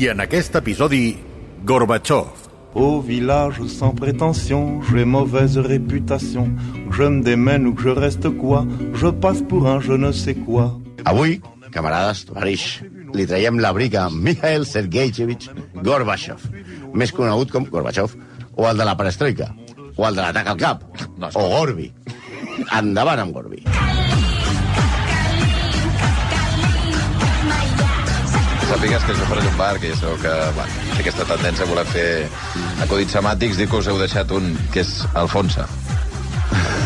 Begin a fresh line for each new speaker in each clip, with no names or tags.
I en aquest episodi, Gorbachev.
Au village sans prétention, j'ai mauvaise réputation. Que je me démène ou que je reste quoi, je passe pour un je ne sais quoi.
Avui, camarades, París, li traiem la brica a Mikhail Sergeyevich Gorbachev, més conegut com Gorbachev, o el de la perestroika, o el de l'atac al cap, o Gorbi. Endavant amb Gorbi.
Sàpigues que això faràs un bar, que ja sabeu que va, té aquesta tendència a voler fer acudits semàtics. Dic que us heu deixat un, que és Alfonso.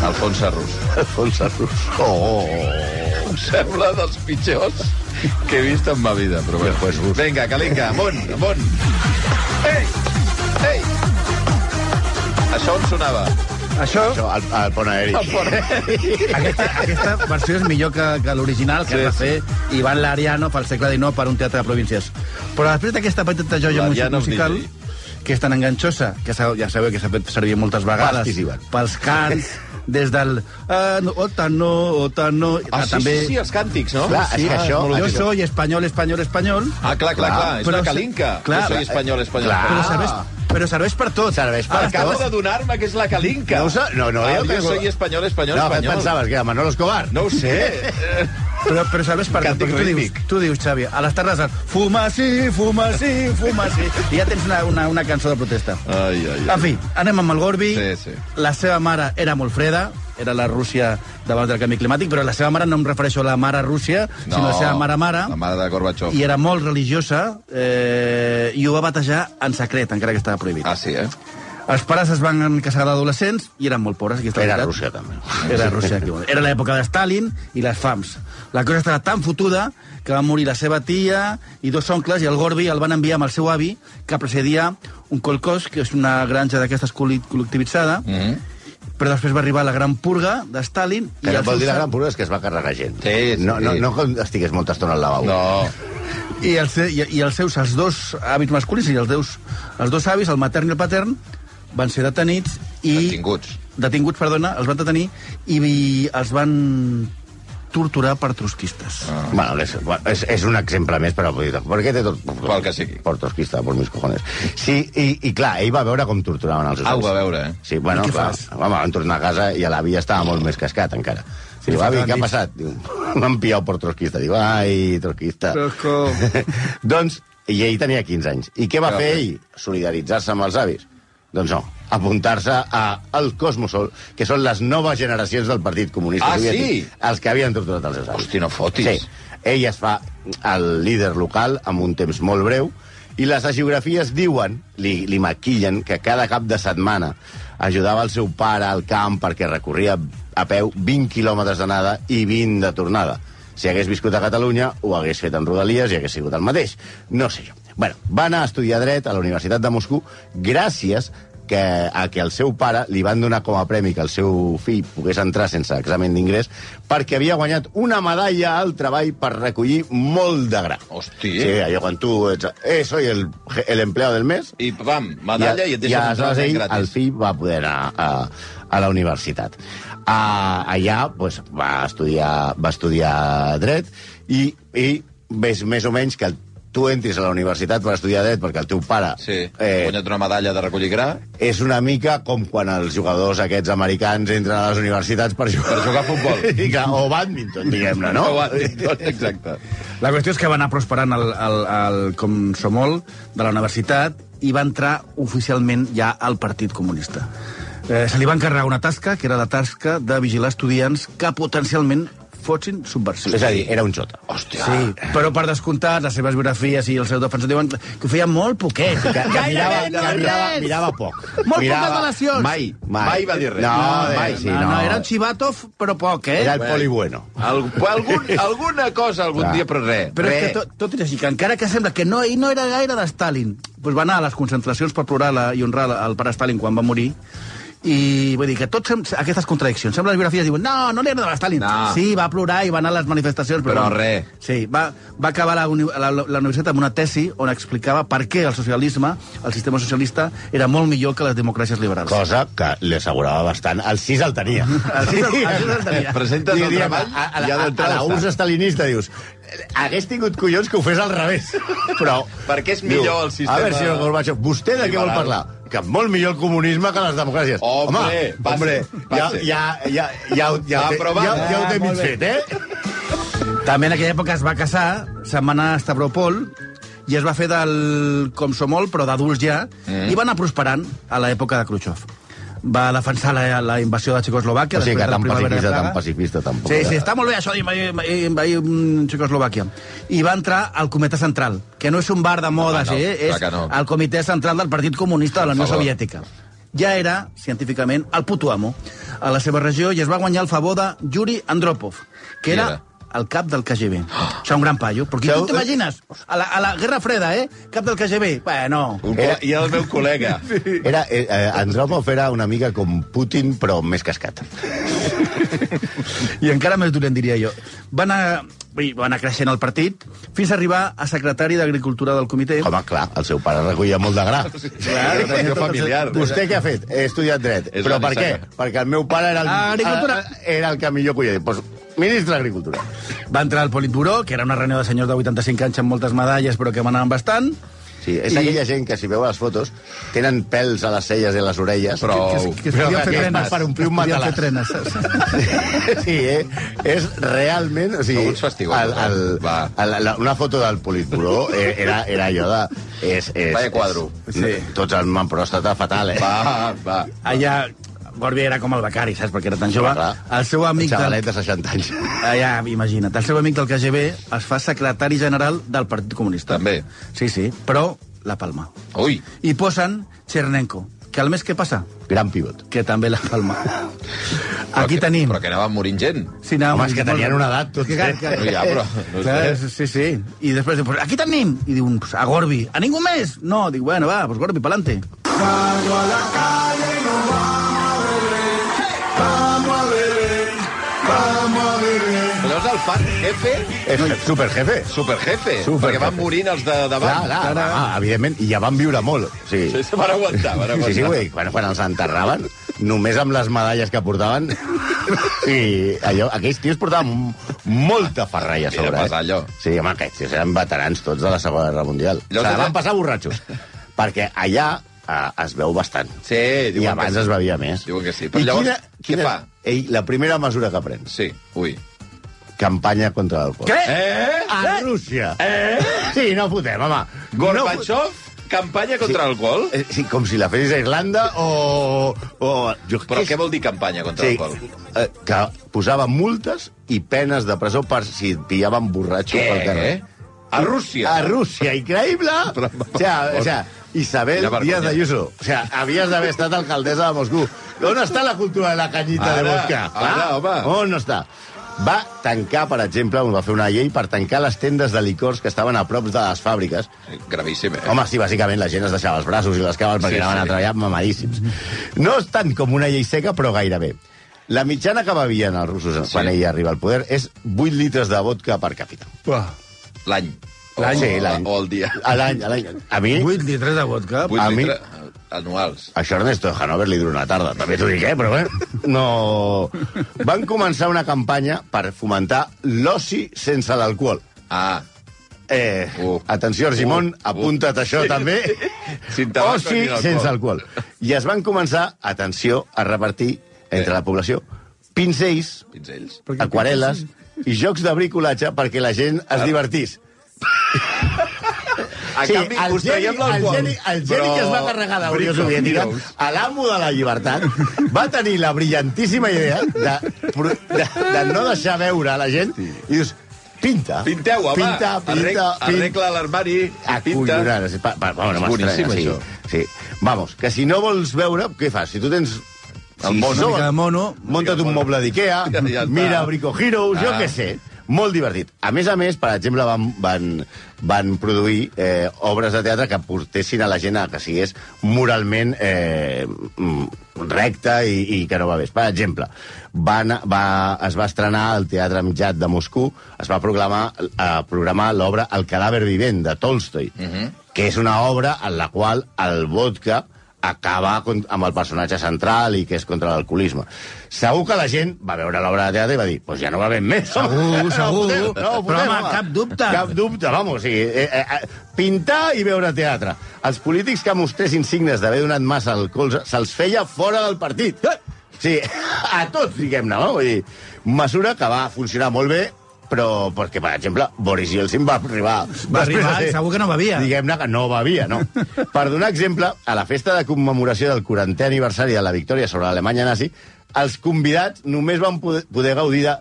Alfonso Rus.
Alfonso Rus. Oh, oh, oh.
Em sembla dels pitjors que he vist en ma vida. Però bé,
pues Rus.
Vinga, Calinca, amunt, amunt. Ei, ei. Això on sonava?
Això,
Això, el, el pont aeri.
El pont
aquesta, aquesta versió és millor que, que l'original, que
Sí,
sí, va fer Ivan Lariano pel segle XIX per un teatre de províncies. Però després d'aquesta petita joia
Lariano és
musical,
DJ.
que és tan enganxosa, que sa- ja sabeu que s'ha fet servir moltes vegades
Pastis, Ivan.
pels cants, des del... Ah, no, ota no, ota no...
Ah,
ah,
sí, sí, sí, els càntics, no?
Clar, és que això...
Jo
això-
soy espanyol, espanyol, espanyol...
Ah, clar, clar, clar. És
Però
una
se-
calinca.
clar,
jo soy espanyol, espanyol.
clar.
Però
espanyol.
serveix, però serveix per tot.
Serveix per
Acabo
Acabo
tot.
de donar-me que és la calinca.
Ah, No ho sa- no, no,
Ah,
jo
jo
que-
soy espanyol, espanyol,
No,
espanyol.
pensaves que era Manolo Escobar.
No ho sé.
Però, però sabes per què?
Càntic
Perquè tu dius,
rítmic.
tu dius, Xavi, a les tardes et fuma sí, fuma sí, fuma sí, i ja tens una, una, una cançó de protesta.
Ai, ai, ai.
En fi, anem amb el Gorbi.
Sí, sí.
La seva mare era molt freda, era la Rússia davant del canvi climàtic, però la seva mare no em refereixo a la mare Rússia, no, sinó a la seva mare-mare.
La mare de Gorbachev.
I era molt religiosa eh, i ho va batejar en secret, encara que estava prohibit.
Ah, sí, eh?
Els pares es van casar d'adolescents i eren molt pobres. Aquesta
Era
veritat.
Rússia, també.
Era Rússia, aquí. Era l'època de Stalin i les fams. La cosa estava tan fotuda que va morir la seva tia i dos oncles, i el Gorbi el van enviar amb el seu avi, que precedia un colcós, que és una granja d'aquestes col·li- col·lectivitzada, mm
Mhm.
-hmm. però després va arribar la gran purga de Stalin...
Que no
els
vol
seus
dir la gran
am-
purga és que es va carregar gent.
Sí, sí.
No, no, no com estigués molta estona al lavabo.
No.
I els, i, i els seus, els dos avis masculins i els, deus, els dos avis, el matern i el patern, van ser detenits i...
Detinguts.
Detinguts, perdona, els van detenir i, i els van torturar per trotskistes. Ah.
Bueno, és, bueno, és, és un exemple més, però... vull dir, Per què té tot...
Pel que sigui.
Per tosquista, per mis cojones. Sí, i, i clar, ell va veure com torturaven els
Ah, ho
nens.
va veure, eh?
Sí, bueno,
I què
clar,
fas?
home, van tornar a casa i a l'avi ja estava molt més cascat, encara. Sí, diu, avi,
faltaven
què ha
dits."
passat? Diu, M'han pillat per trotskista. Diu, ai, trotskista.
Però com?
doncs, i ell tenia 15 anys. I què va
Però
fer
què?
ell? Solidaritzar-se amb els avis? Doncs no, apuntar-se a el Cosmosol, que són les noves generacions del Partit Comunista
Ah,
Soviètic,
sí?
els que havien torturat els seus avis.
Hosti, no fotis.
Sí. Ell es fa el líder local amb un temps molt breu i les geografies diuen, li, li maquillen, que cada cap de setmana ajudava el seu pare al camp perquè recorria a peu 20 quilòmetres d'anada i 20 de tornada. Si hagués viscut a Catalunya, ho hagués fet en Rodalies i hagués sigut el mateix. No sé jo. Bueno, va anar a estudiar dret a la Universitat de Moscou gràcies que, a que el seu pare li van donar com a premi que el seu fill pogués entrar sense examen d'ingrés perquè havia guanyat una medalla al treball per recollir molt de gra.
Hosti.
Sí, allò quan tu ets... Eh, soy el, el empleado del mes.
I pam, medalla i, et deixes entrar
aleshores
ben
ell,
gratis.
El fill va poder anar a, a la universitat. A, allà pues, va, estudiar, va estudiar dret i, i ves més o menys que el, tu entris a la universitat per estudiar dret perquè el teu pare eh,
Sí, guanyat una medalla de recollir gra
és una mica com quan els jugadors aquests americans entren a les universitats per jugar,
Per jugar a futbol.
I clar, o badminton, diguem-ne, no?
O badminton, exacte.
La qüestió és que va anar prosperant el, el, el Comsomol de la universitat i va entrar oficialment ja al Partit Comunista. Eh, se li va encarregar una tasca, que era la tasca de vigilar estudiants que potencialment fotsin subversions.
És a dir, era un xota. Hòstia.
Sí, però per descomptat, les seves biografies i el seu defensor diuen que ho feia molt poquet.
Que, que mirava,
Gairebé no
que mirava,
res.
mirava poc.
Molt
mirava...
poques relacions.
Mai, mai.
Mai va dir res.
No,
eh,
mai, Ah, sí,
no,
no.
no, era un xivatov, però poc, eh?
Era el poli bueno.
Al, algun, alguna cosa algun
Clar.
dia, però res.
Però és
res.
que tot, tot és així, que encara que sembla que no, ell no era gaire de Stalin, doncs va anar a les concentracions per plorar la, i honrar la, el pare Stalin quan va morir, i vull dir que tots sem- aquestes contradiccions. Sembla les biografies diuen, no, no li agradava Stalin.
No.
Sí, va plorar i va anar a les manifestacions.
Però
bueno,
res.
Sí, va, va acabar la, uni, la, la universitat amb una tesi on explicava per què el socialisme, el sistema socialista, era molt millor que les democràcies liberals.
Cosa que li assegurava bastant. El 6 el tenia.
Així, així se'l tenia.
Presentes el
Diríem,
treball
a, a,
i
la,
ja
a la
d'entrada està.
URSS estalinista dius hagués tingut collons que ho fes al revés. Però...
Perquè és millor el sistema
A veure, senyor Gorbachev, vostè de què vol
liberal.
parlar? Que molt millor el comunisme que les democràcies.
Hombre, passe,
ja,
passe.
ja, ja, ja, ho- ja, ho té-
Aprovat.
ja, ja ho
Ah,
té
molt
mig
bé.
fet, eh?
També en aquella època es va casar, se'n va anar a Stavropol, i es va fer del Komsomol, però d'adults ja,
Eh.
mm. i va anar prosperant a l'època de Khrushchev. Va defensar la, la invasió de Txecoslovàquia...
O sigui
després
que
de la
tan
Primavera de
pacifista, tan pacifista,
Praga.
tampoc. eh?
Sí, sí, està molt bé això d'invair invair, mm, Txecoslovàquia. I va entrar al Comitè Central, que no és un bar de modes,
Ah, no,
eh?
clar
és
que no.
el Comitè Central del Partit Comunista de la Unió
favor.
Soviètica. Ja era, científicament, el puto amo a la seva regió i es va guanyar el favor de Yuri Andropov, que
Qui
era,
era?
el cap del KGB. Oh. Això un gran paio. Perquè
Això-
tu t'imagines, a, la, a la Guerra Freda, eh? Cap del KGB. Bueno,
Un col- I el meu col·lega.
Era, eh, eh, Andropov era una mica com Putin, però més cascat.
i encara més dolent, diria jo. Va anar, vull dir, va anar creixent el partit fins a arribar a secretari d'Agricultura del comitè.
Home, clar, el seu pare recollia molt de gra.
Clar,
tenia
relació
tot el-
familiar.
Vostè què ha fet? He estudiat dret.
És
Però
la
per què?
nissaga.
Perquè el meu pare era el,
Ah, Agricultura.
a- era el que millor collia. Doncs ministre d'Agricultura.
Va entrar al Politburó, que era una reunió de senyors de 85 anys amb moltes medalles, però que manaven bastant.
Sí, és
I-
I... aquella gent que, si veu les fotos, tenen pels a les celles i a les orelles.
Prou.
Que, que, que es
Oh. Però
podien
que
fer
és
trenes.
més per omplir un
Es podien
matalàs.
fer trenes, saps?
Sí, eh? És realment... O sigui,
Alguns festigues,
el, el,
va.
el, la, una foto del Politburó eh, era, era allò de... És, és,
Vaya quadro.
És, sí. Tots amb man pròstata fatal, eh?
Va, va.
Allà, Gorbi era com el becari, saps? Perquè era tan jove.
Clar.
El seu amic del
Xavalet de 60 anys.
Allà, imagina't, el seu amic del KGB es fa secretari general del Partit Comunista.
També.
Sí, sí, però la palma.
Ui,
I posen Chernenko, que al mes què passa?
Gran pivot.
Que també la palma.
però
Aquí
que,
tenim...
Però que anava morint gent.
Sí, anava
Home, és
molt-
que tenien
molt-
una edat, tots.
Que, clar, que...
No, ja, però... No
Clar,
sé.
és- sí, sí. I després diu, pues, aquí tenim! I diu, pues, a Gorbi. A ningú més? No, dic, bueno, va, pues Gorbi, pa'lante.
Llavors el fan jefe,
És superjefe.
Eh, superjefe,
Superjefe.
perquè van morint els de
Clar,
davant.
clar, clar, evidentment, i ja van viure molt. Sí,
Sí, se van aguantar, van aguantar.
sí, sí güey. Bueno, quan els enterraven, només amb les medalles que portaven... I allò, aquells tios portaven m- molta ferralla a
Era
sobre.
pesar, allò.
Eh? Sí, home, aquests tios eren veterans tots de la Segona Guerra Mundial.
Allò
Allò Se
que-
la van passar borratxos. perquè allà eh, es veu bastant.
Sí,
I
diuen
abans
que
es
sí.
bevia més.
Diuen que sí. Però
I
llavors,
quina,
què
quina,
fa?
Ei, la primera mesura que prens,
Sí, ui.
campanya contra l'alcohol.
Què?
Eh?
A Rússia. Eh? Sí, no fotem, home.
Gorbachev, campanya contra l'alcohol?
Eh, Sí, com si la fessis a Irlanda o... o jo,
Però què vol dir campanya contra
Sí,
l'alcohol?
eh, que posava multes i penes de presó per si et pillaven borratxo
Què?
pel carrer.
A Rússia?
A Rússia, increïble!
Però, per
o sea,
favor.
o sea, Isabel
Quina vergonya.
Díaz Ayuso. O sea, havies d'haver estat alcaldessa de Moscú. On està la cultura de la canyita
Ara,
de vodka?
ara,
Ah,
home.
On està? Va tancar, per exemple, va fer una llei per tancar les tendes de licors que estaven a prop de les fàbriques
Gravíssim, eh?
Home, sí, bàsicament la gent es deixava els braços i les cames perquè sí,
Sí,
anaven
sí.
a treballar mamadíssims. No és tant com una llei seca, però gairebé. La mitjana que bevien els russos sí. quan
Sí.
ell arriba al poder és 8 litres de vodka per càpita.
Uah.
L'any. O-
L'any, sí, l'any.
O el dia.
A l'any, a l'any. A mi,
8 litres de vodka.
Vuit
A mi-
litres eh, anuals.
això Ernesto de Hanover li dura una tarda, també t'ho dic, eh, però eh? No... Van començar una campanya per fomentar l'oci sense l'alcohol.
Ah,
Eh,
Uh.
uh. Atenció, Argimon,
Uh.
uh. apunta't això també.
Sin tabaco
Oci
ni alcohol.
sense alcohol. I es van començar, atenció, a repartir entre
Eh.
la població pincells,
pinzells.
aquarel·les i jocs de bricolatge perquè la gent es divertís. A
Sí,
canvi,
el
us traiem
geni-
l'alcohol.
el geni- el geni que es va carregar la Unió Soviètica,
a l'amo de la llibertat, va tenir la brillantíssima idea de, de, de no deixar veure a la gent i dius, pinta.
Pinteu, home!
Pinta, pinta,
Arreg- Arregla l'armari, pinta...
Acollonant. Ah, Pa, pa, pa,
És
bueno,
boníssim,
sí,
això.
Sí. Vamos, que si no vols veure, què fas? Si tu tens...
El mono.
sol,
Una mica de mono.
Monta't un
Mono.
moble d'Ikea,
Ja- ja està.
mira Brico Heroes, jo
Ah.
què sé. Molt divertit. A més a més, per exemple, van, van, van produir eh, obres de teatre que portessin a la gent a que sigués moralment eh, mm, recta i, i que no va bé. Per exemple, van, va, es va estrenar al Teatre Mitjat de Moscou, es va proclamar, eh, programar l'obra El cadàver vivent, de Tolstoi, que és una obra en la qual el vodka acaba con- amb el personatge central i que és contra l'alcoholisme. Segur que la gent va veure l'obra de teatre i va dir pues ja no va ben més.
Segur,
no,
segur.
ho podem, ho
Però,
podem,
home, cap dubte.
Cap dubte, vamos. O sigui, eh, eh, eh, pintar i veure teatre. Els polítics que mostressin signes d'haver donat massa alcohol se'ls feia fora del partit.
Eh!
Sí, a tots, diguem-ne, no? Vull dir, mesura que va funcionar molt bé, però perquè, per exemple, Boris Yeltsin va arribar...
Va arribar,
després de-
segur que no bevia.
Diguem-ne que no bevia, no. Per donar exemple, a la festa de commemoració del 40è aniversari de la victòria sobre l'Alemanya nazi, els convidats només van poder, poder gaudir de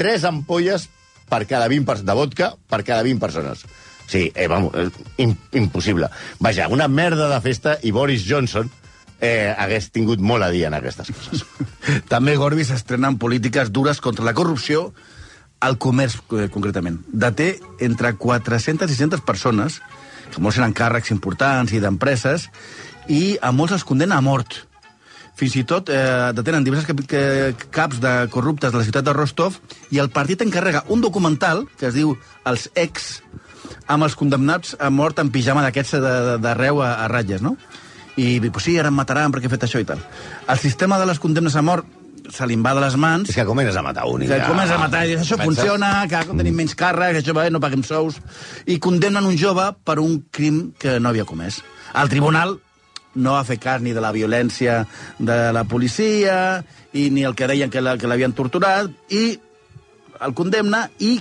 3 ampolles per cada 20 per, de vodka per cada 20 persones. Sí, eh, vamos, eh, im, impossible. Vaja, una merda de festa i Boris Johnson eh, hagués tingut molt a dir en aquestes coses.
També Gorbi s'estrena amb polítiques dures contra la corrupció al comerç, eh, concretament. Deté entre 400 i 600 persones, que molts eren càrrecs importants i d'empreses, i a molts els condena a mort. Fins i tot eh, detenen diverses cap, que, caps de corruptes de la ciutat de Rostov i el partit encarrega un documental que es diu Els ex, amb els condemnats a mort en pijama d'aquests de- de- d'arreu a, a ratlles, no? I, pues sí, ara em mataran perquè he fet això i tal. El sistema de les condemnes a mort se li va de les mans
És que comences a matar un i
que
ja-
comença a matar, i dius, això
Pensa-
funciona, que tenim menys càrrecs, això va bé, no paguem sous, i condemnen un jove per un crim que no havia comès. El tribunal no va fer cas ni de la violència de la policia, i ni el que deien que la- que l'havien torturat, i el condemna i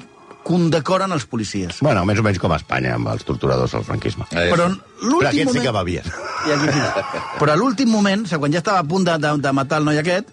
condecoren els policies.
Bueno, més o menys com a Espanya, amb els torturadors del franquisme.
Eh,
Però
Però aquest
l'últim
sí
moment...
que bevien.
I aquí sí. Però a l'últim moment, o sigui, quan ja estava a punt de, de, de matar el noi aquest,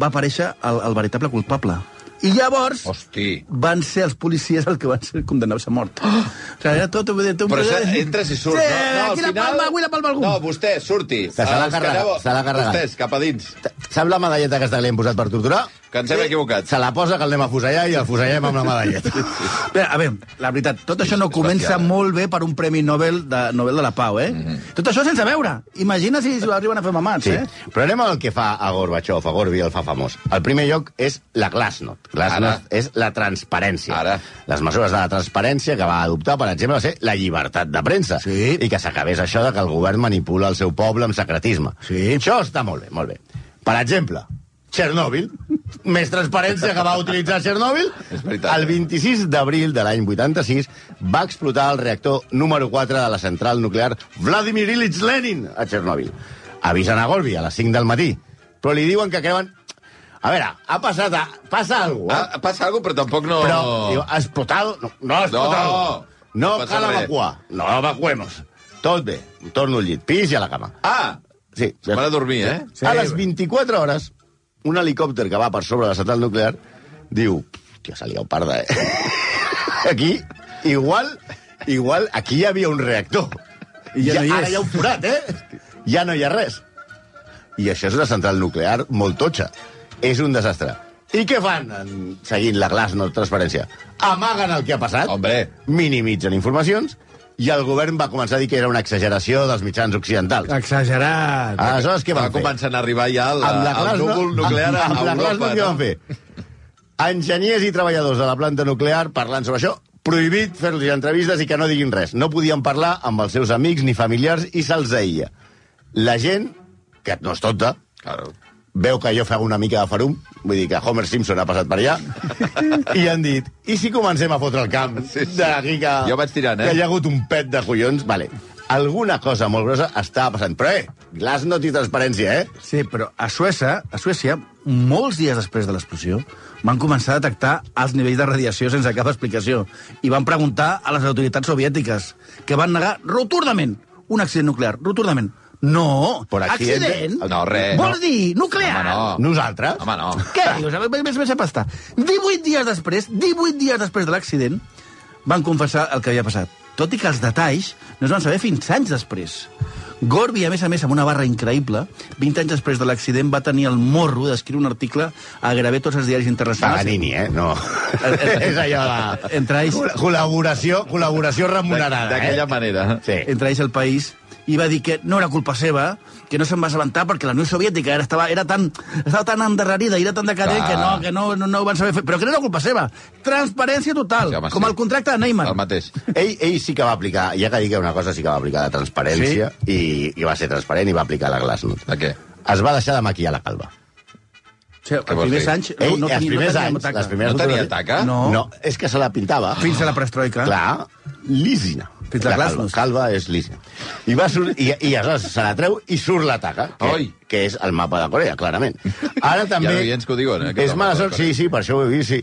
va aparèixer el, el veritable culpable. I llavors...
Hosti.
van ser els policies els que van ser condemnats a mort. Oh! O sigui, era tot... Però
Però això
eh,
entres i surts,
sí,
no? no
aquí la palma, avui la palma algú.
No, vostè, surti.
Se l'ha
Els
carregat,
aneu-
se l'ha carregat.
Vostès, cap a dins.
Sap la medalleta aquesta que li hem posat per torturar?
Que ens hem equivocat. Ah,
Se la posa que el anem a fusellar i el fusellem amb la medalleta.
Bé, a veure, la veritat, tot això no comença
bestial, eh? Mhm.
molt bé per un Premi Nobel de, Nobel de la Pau, eh? Mm -hmm. Tot això sense veure. Imagina si ho arriben a fer mamats,
Sí.
eh?
Però anem al que fa a Gorbachev, a Gorbi, el fa famós. El primer lloc és la glasnost. Glasnost
Ara.
és la transparència.
Ara.
Les mesures de la transparència que va adoptar, per exemple, va ser la llibertat de premsa.
Sí.
I que s'acabés això de que el govern manipula el seu poble amb secretisme.
Sí.
Això està molt bé, molt bé. Per exemple, Txernòbil, més transparència que va utilitzar Txernòbil,
És veritat. eh?
el 26 d'abril de l'any 86 va explotar el reactor número 4 de la central nuclear Vladimir Ilyich Lenin a Txernòbil. Avisen a Gorbi a les 5 del matí, però li diuen que creuen... A veure, ha passat... A... Passa alguna cosa, eh?
Ah, passa alguna cosa, però tampoc no...
Però, diu, ha explotat... No, no ha explotat.
No,
no
no passa
cal
res.
evacuar. No evacuemos. Tot bé. Em torno al llit. Pis i a la cama.
Ah,
Sí.
se'n van a dormir, eh?
Sí. A les 24 hores, un helicòpter que va per sobre de la central nuclear diu... Hòstia, se li ha parda, eh? Aquí, igual, igual, aquí hi havia un reactor. I
ja no hi
Ara
és.
hi ha un forat, eh? Ja no hi ha res. I això és una central nuclear molt totxa. És un desastre. I què fan en- seguint la glaç no transparència? Amaguen el que ha passat,
Hombre.
minimitzen informacions, i el govern va començar a dir que era una exageració dels mitjans occidentals.
Exagerat.
Aleshores, què
Va
van fer?
començant a arribar ja al, al
no-
núvol nuclear
amb, amb
a
la glaç no,
Europa.
què van fer? Enginyers i treballadors de la planta nuclear parlant sobre això, prohibit fer-los entrevistes i que no diguin res. No podien parlar amb els seus amics ni familiars i se'ls aïlla. La gent, que no és tonta,
Claro.
veu que jo faig una mica de farum, vull dir que Homer Simpson ha passat per allà, i han dit, i si comencem a fotre el camp
Sí, sí.
d'aquí que,
Jo vaig tirant, eh?
que hi ha hagut un pet de collons? Vale. Alguna cosa molt grossa estava passant. Però, eh, glaç no té transparència, eh?
Sí, però a Suècia, a Suècia, molts dies després de l'explosió, van començar a detectar els nivells de radiació sense cap explicació i van preguntar a les autoritats soviètiques, que van negar rotundament un accident nuclear, rotundament. No,
Por accidente-
accident
No, res,
vol
no.
dir nuclear.
Home, no.
Nosaltres?
Home, no.
Què dius? A veure, Més, més, pasta. 18 dies després, 18 dies després de l'accident, van confessar el que havia passat. Tot i que els detalls no es van saber fins anys després. Gorby, a més a més, amb una barra increïble, 20 anys després de l'accident va tenir el morro d'escriure un article a gairebé tots els diaris internacionals.
Paganini, eh? No.
Ah, El- el-
és allò de...
Entre ells-
Col- Col·laboració, col·laboració remunerada,
D'aquella
eh?
manera.
Sí.
entre ells el país, i va dir que no era culpa seva, que no se'n va assabentar perquè la Unió Soviètica era, estava, era tan, estava tan endarrerida i era tan decadent
Clar.
que, no, que no, no, no ho van saber fer. Però que no era culpa seva. Transparència total,
Sí, home,
com
sí.
el contracte de Neymar.
El mateix.
Ell, ell sí que va aplicar, ja que dic una cosa, sí que va aplicar la transparència sí? i, i va ser transparent i va aplicar la glasnost.
De què?
Es va deixar de maquillar la calva.
O sigui,
Què
els
vols
primers
dir?
anys...
Ell, els
tenia-
primers
tenia
anys...
taca.
Les primeres
No tenia
fotografies-
taca?
No.
No, és que se la pintava.
Fins a la perestroika.
Clar, lísina.
Fins la
calva,
glasnost.
calva és lísina. I, va sur i, I aleshores se la treu i surt la taca, que,
Ai.
que és el mapa de Corea, clarament. Ara també...
Hi ha oients que ho diuen, eh, que és
és
el
mala
mapa de
sort, sí,
Corea.
sí, per això ho he vist, sí.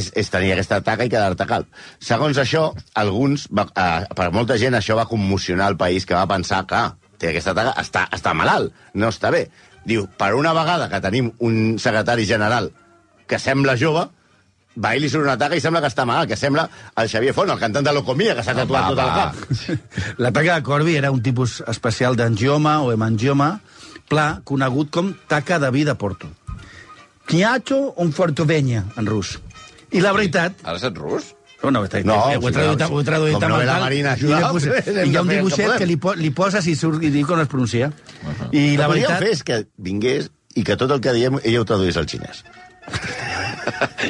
És, és tenir aquesta taca i quedar-te calb. Segons això, alguns... Va, eh, per molta gent això va commocionar el país, que va pensar que ah, té aquesta taca, està, està malalt, no està bé. Diu, per una vegada que tenim un secretari general que sembla jove, va i li surt una taca i sembla que està mal, que sembla el Xavier Font, el cantant de Locomia, que s'ha
Ah,
tatuat tot el cap.
La taca de Corby era un tipus especial d'angioma o hemangioma pla, conegut com taca de vi de Porto. Piacho un fortovenya, en rus. I la veritat...
Ara saps rus?
No, no, està,
No,
eh, ho he
sí,
traduït,
no,
ho he traduït
com
a
novela
mental,
marina,
i,
ajuda,
li he posat-
hem de
i hi ha un
fer el que
dibuixet que,
podem.
li, po li poses i, surt, i diu com es pronuncia. I la
el que podíem
veritat...
fer és que vingués i que tot el que diem ella ho traduís al xinès.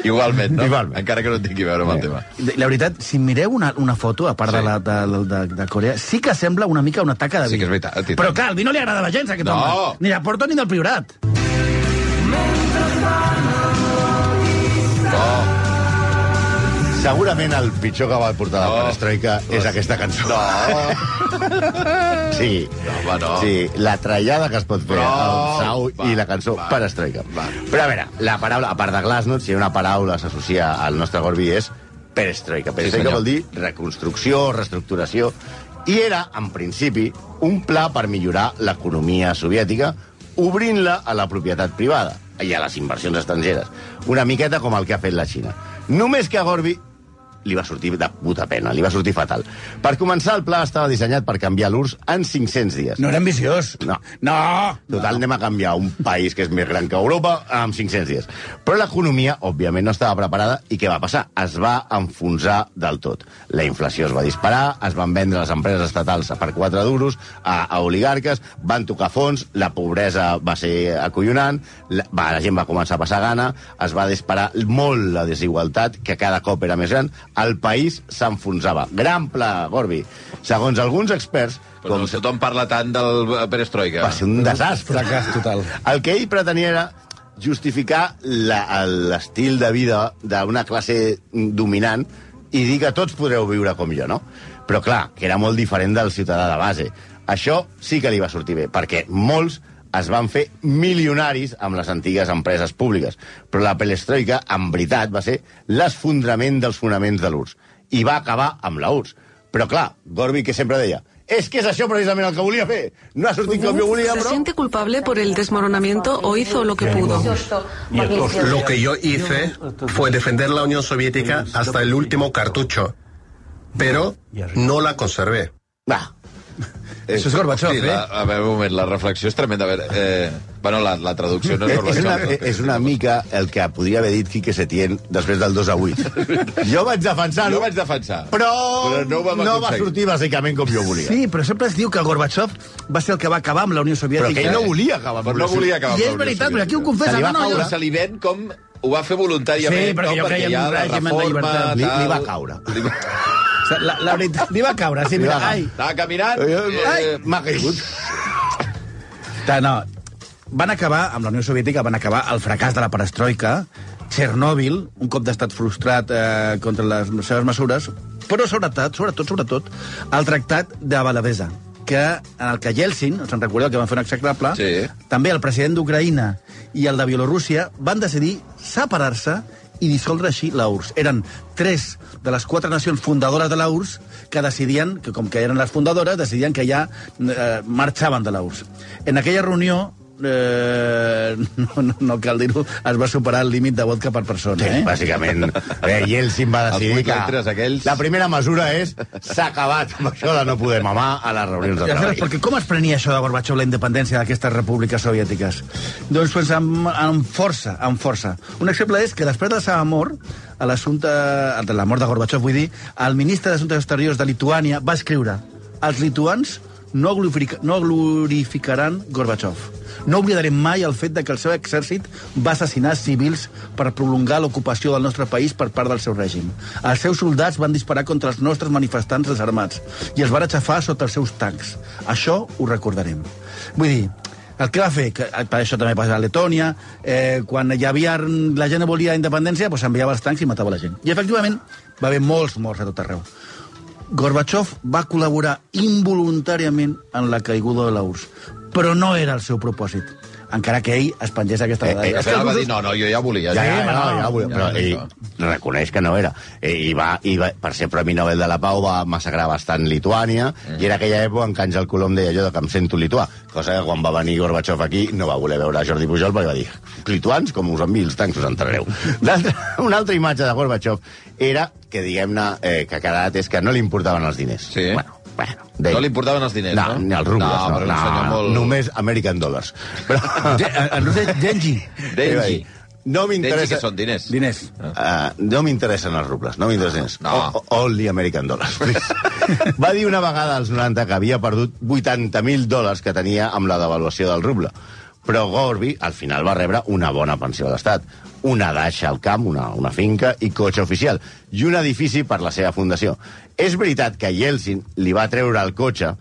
Igualment, no?
Igualment.
Encara que no tingui a veure amb el tema.
La veritat, si mireu una, una foto, a part
Sí.
sí. de, la, de, de, de Corea, sí que sembla una mica una taca de vi.
Sí que és veritat, el titani.
Però clar, al vi no li agradava gens, aquest
No.
home. Ni de Porto ni del Priorat.
Segurament el pitjor que va portar la
No.
perestroika és aquesta cançó. No. Sí.
No, home, no.
Sí, la trallada que es pot fer
No.
al Sau
Va,
i la cançó
va,
perestroika.
va.
Però a veure, la paraula, a part de Glasnost, si hi ha una paraula que s'associa al nostre Gorbi és perestroika. Perestroika
senyor.
vol dir reconstrucció, reestructuració, i era, en principi, un pla per millorar l'economia soviètica obrint-la a la propietat privada i a les inversions estrangeres. Una miqueta com el que ha fet la Xina. Només que a Gorbi li va sortir de puta pena, li va sortir fatal. Per començar, el pla estava dissenyat per canviar l'URSS en 500 dies.
No era ambiciós.
No.
No!
Total, anem a canviar un país que és més gran que Europa amb 500 dies. Però l'economia, òbviament, no estava preparada i què va passar? Es va enfonsar del tot. La inflació es va disparar, es van vendre les empreses estatals per 4 duros a, a oligarques, van tocar fons, la pobresa va ser acollonant, la, va, la gent va començar a passar gana, es va disparar molt la desigualtat, que cada cop era més gran, el país s'enfonsava. Gran pla, Gorbi. Segons alguns experts,
Però
com
com tothom parla tant del eh, perestroika.
va ser un desastre.
Fracàs total.
El que ell pretenia era justificar la- l'estil de vida d'una classe dominant i dir que tots podreu viure com jo, no? Però, clar, que era molt diferent del ciutadà de base. Això sí que li va sortir bé, perquè molts es van fer milionaris amb les antigues empreses públiques. Però la perestroika, en veritat, va ser l'esfondrament dels fonaments de l'URSS. I va acabar amb la URSS. Però, clar, Gorbi, que sempre deia, és que és això precisament el que volia fer. No ha sortit com jo volia,
¿Se
però...
siente culpable por el desmoronamiento o hizo lo que pudo?
Lo que yo hice fue defender la Unión Soviética hasta el último cartucho, pero no la conservé.
Va.
Això és Gorbachev,
Hosti, la,
eh?
a veure, un moment, la reflexió és tremenda. A veure, eh, bueno, la, la traducció
Eh,
no és
És una,
Gorbachev.
és una mica el que podria haver dit Quique Setién després del 2 a 8. Jo vaig defensar-ho,
Jo vaig defensar.
però,
Però no ho vam
no va
aconseguir.
sortir bàsicament com jo volia.
Sí, però sempre es diu que Gorbachev va ser el que va acabar amb la Unió Soviètica.
Però que ell no volia acabar amb Eh,
Però no
l'Unió
volia acabar amb
I és
la Unió
veritat, però aquí ho
Soviètica.
confessa.
Se li va
No, no,
caure.
jo...
Però se li ven com... Ho va fer voluntàriament,
Sí, perquè
no,
jo
perquè
creia en
hi ha
un
la
règim de
reforma...
llibertat.
Li,
tal.
li va caure.
Li va-
La, la veritat, li va caure. Sí, mira,
va-
ai,
Estava caminant...
Eh,
Eh,
M'ha caigut.
Ta- No, van acabar, amb la Unió Soviètica, van acabar el fracàs de la perestroika, Txernòbil, un cop d'estat frustrat eh, contra les seves mesures, però sobretot, sobretot, sobretot, el tractat de Balavesa, que en el que Yeltsin, us en recordeu que van fer un execrable,
Sí.
també el president d'Ucraïna i el de Bielorússia van decidir separar-se i dissoldre així la URSS. Eren tres de les quatre nacions fundadores de la URSS que decidien, que com que eren les fundadores, decidien que ja eh, marxaven de la URSS. En aquella reunió Eh, no, no, no cal dir-ho, es va superar el límit de vodka per persona.
Sí,
eh?
bàsicament. Eh, Yeltsin va
Els
decidir
vuit
que
litres aquells.
la primera mesura és s'ha acabat amb això de no poder mamar a les reunions de
I aleshores,
treball.
perquè com es prenia això de Gorbachev la independència d'aquestes repúbliques soviètiques? Doncs pues, amb, amb força, amb força. Un exemple és que després de la seva mort, a l'assumpte de la mort de Gorbachev, vull dir, el ministre d'Assumptes Exteriors de Lituània va escriure els lituans no, glorific no glorificaran Gorbachev. No oblidarem mai el fet de que el seu exèrcit va assassinar civils per prolongar l'ocupació del nostre país per part del seu règim. Els seus soldats van disparar contra els nostres manifestants desarmats i els van aixafar sota els seus tancs. Això ho recordarem. Vull dir, el que va fer, que eh, per això també passa a Letònia, eh, quan hi havia, la gent volia independència, doncs enviava els tancs i matava la gent. I efectivament va haver molts morts a tot arreu. Gorbachev va col·laborar involuntàriament en la caiguda de la URSS, però no era el seu propòsit, encara que ell es pengés aquesta
Eh, eh,
medalla.
I al
És que els
final va dir, no,
russos-
no, jo ja volia.
Ja, ja, ja,
no,
ja, ja, però ell reconeix que no era. Eh, I, va, i va, per ser Premi Nobel de la Pau va massacrar bastant Lituània mm. i era aquella època en què Àngel Colom deia allò de que em sento lituà, cosa que quan va venir Gorbachev aquí no va voler veure Jordi Pujol perquè va dir lituans, com us enviï els tancs us entrareu. Una altra imatge de Gorbachev era que, diguem-ne, eh, que ha quedat és que no li importaven els diners.
Sí.
Bueno, bueno,
No
deia.
li importaven els diners, no?
no? ni els rubles,
No,
no.
però
no,
un senyor
no,
molt-
Només American Dollars. Però...
Ge- en- en rus és Genji.
Denji.
No
Denji,
m'interessa...
que són diners.
Diners.
Uh, no m'interessen els rubles, no m'interessen els...
No.
O- o- Only American dollars, please. Va dir una vegada als 90 que havia perdut 80.000 dòlars que tenia amb la devaluació del ruble. Però Gorby, al final, va rebre una bona pensió de l'Estat, una daixa al camp, una, una finca i cotxe oficial, i un edifici per la seva fundació. És veritat que Yeltsin li va treure el cotxe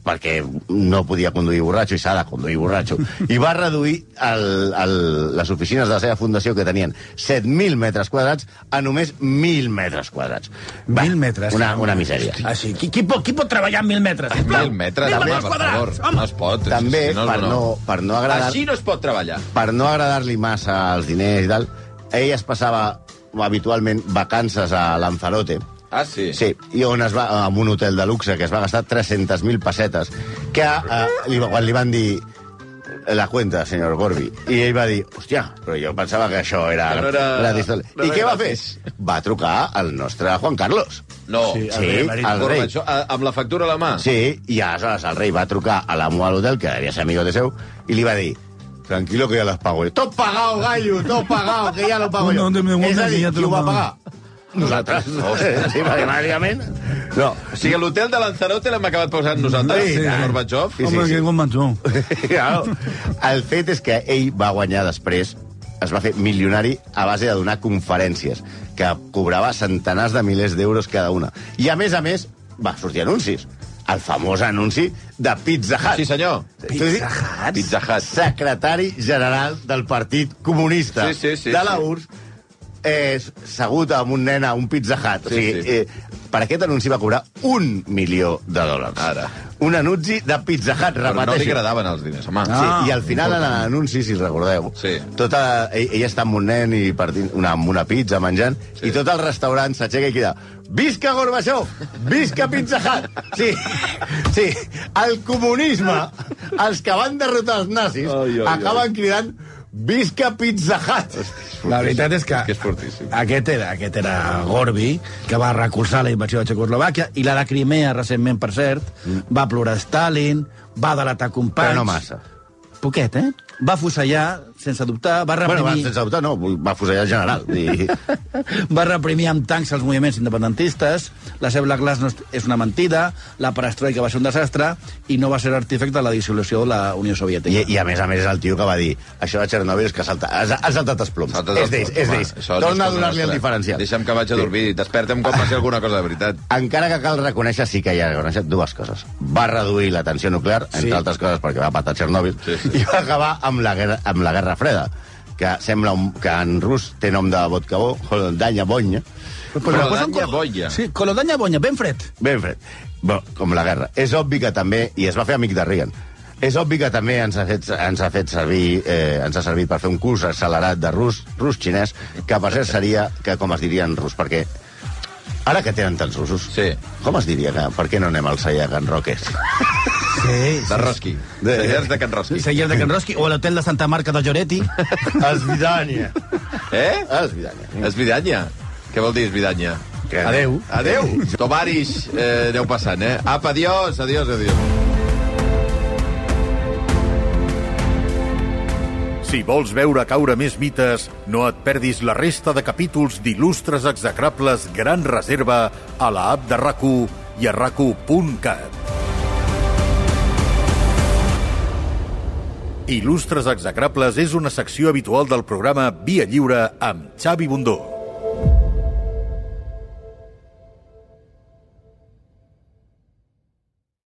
perquè no podia conduir borratxo i s'ha de conduir borratxo, i va reduir el, el, les oficines de la seva fundació que tenien 7.000 metres quadrats a només 1.000 metres quadrats. Va,
Mil metres.
Una, una misèria.
Així, qui, qui, pot, qui pot treballar amb mil metres? sisplau?
Mil metres, home, per favor. No es pot.
També,
Si no,
per, no, per no agradar...
Així no es pot treballar.
per no agradar-li massa els diners i tal, ell es passava habitualment vacances a Lanzarote.
Ah, sí?
Sí, i on es va, amb un hotel de luxe que es va gastar 300.000 pessetes, que eh, li, quan li van dir la cuenta, senyor Gorbi. I ell va dir, hòstia, però jo pensava que això era...
Que no era-
gratis". I
no era
què va fer?
gratis.
Va trucar al nostre Juan Carlos.
No.
Sí,
Sí,
rei, Marit.
el rei.
Gorbachev, a- amb la factura a la mà.
Sí, i aleshores el rei va trucar a l'amo de l'hotel, que devia ser amigo de seu, i li va dir, tranquilo que ja les pago jo. Tot pagado, gallo, tot pagado, que ja lo pago jo.
No, no, no, no,
És a dir,
ja
qui
te
ho
lo
va
pago.
pagar? Nosaltres. Sí, perquè bàsicament... No,
O sigui, l'hotel de Lanzarote l'hem acabat posant nosaltres,
Sí,
sí,
sí.
Gorbachev.
Sí, sí, sí.
bon menjó.
Claro. El fet és que ell va guanyar després, es va fer milionari a base de donar conferències, que cobrava centenars de milers d'euros cada una. I, a més a més, va sortir anuncis. El famós anunci de Pizza Hut.
Sí, senyor.
Pizza Hut?
Pizza Hut.
Secretari general del Partit Comunista
Sí, sí, sí,
de la
sí.
URSS, eh, segut amb un nen a un Pizza Hut.
Sí,
o sigui,
sí.
eh, per aquest anunci va cobrar un milió de dòlars.
Ara.
Un anunci de Pizza Hut,
Però no li
repeteixo.
agradaven els diners, home.
Sí,
Ah,
I al final, en l'anunci, si recordeu,
Sí.
tota, ell, ella està amb un nen i partint una, amb una pizza, menjant, sí. i tot el restaurant s'aixeca i crida Visca Gorbachev! Visca Pizza Hut! Sí, sí, el comunisme, els que van derrotar els nazis, ai, ai, acaben ai. cridant Visca Pizza Hut!
La veritat és que,
És que és fortíssim.
aquest, era, aquest era Gorbi, que va recolzar la invasió de Txecoslovàquia, i la de Crimea, recentment, per cert, mm. va plorar Stalin, va delatar companys...
Però no massa.
Poquet, eh? Va fusellar, sense dubtar, va reprimir...
Bueno, va, sense dubte, no, va fusellar el general. I...
va reprimir amb tancs els moviments independentistes, la seva Black Glass no és- és una mentida, la perestroika va ser un desastre i no va ser artefacte de la dissolució de la Unió Soviètica.
I, I a més a més és el tio que va dir això de Txernòbil és que ha saltat, ha, ha saltat els ploms.
Salta't
és
el-
d'ells, és
home,
d'ells.
això no és
Torna a
cosa
donar-li el
nostra.
diferencial.
Deixa'm que vaig a dormir. Desperta'm quan passi alguna cosa de veritat.
Encara que cal reconèixer, sí que hi ha reconèixer dues coses. Va reduir la tensió nuclear, entre
Sí.
altres coses perquè va patar Txernòbil,
Sí, sí.
i va acabar amb la, guerra, amb la Guerra Freda, que sembla un, que en rus té nom de vodka bo, Holodanya Bonya,
Però
posen
Danya
col-
Boya.
Sí, Colodanya Bonya, ben fred.
ben fred, bo, com la guerra. És obvi que també, i es va fer amic de Reagan, És obvi que també ens ha fet, ens ha fet servir, eh, ens ha servit per fer un curs accelerat de rus, rus-xinès, que per cert seria, que com es diria en rus, perquè ara que tenen tants russos,
Sí.
com es diria que per què no anem al Saia Can Roques?
Sí,
De Roski.
De-
De, de Can Roski.
Seyer de Can Roski o a l'hotel de Santa Marca de Lloreti.
Esvidània.
Eh?
Esvidània.
Esvidanya. Què vol dir esvidanya?
Adeu.
Adeu. Tovarix, eh, aneu passant, eh? Apa, adiós, adiós, adiós.
Si vols veure caure més mites, no et perdis la resta de capítols d'il·lustres execrables Gran Reserva a la app de rac i a rac Il·lustres execrables és una secció habitual del programa Via Lliure amb Xavi Bundó.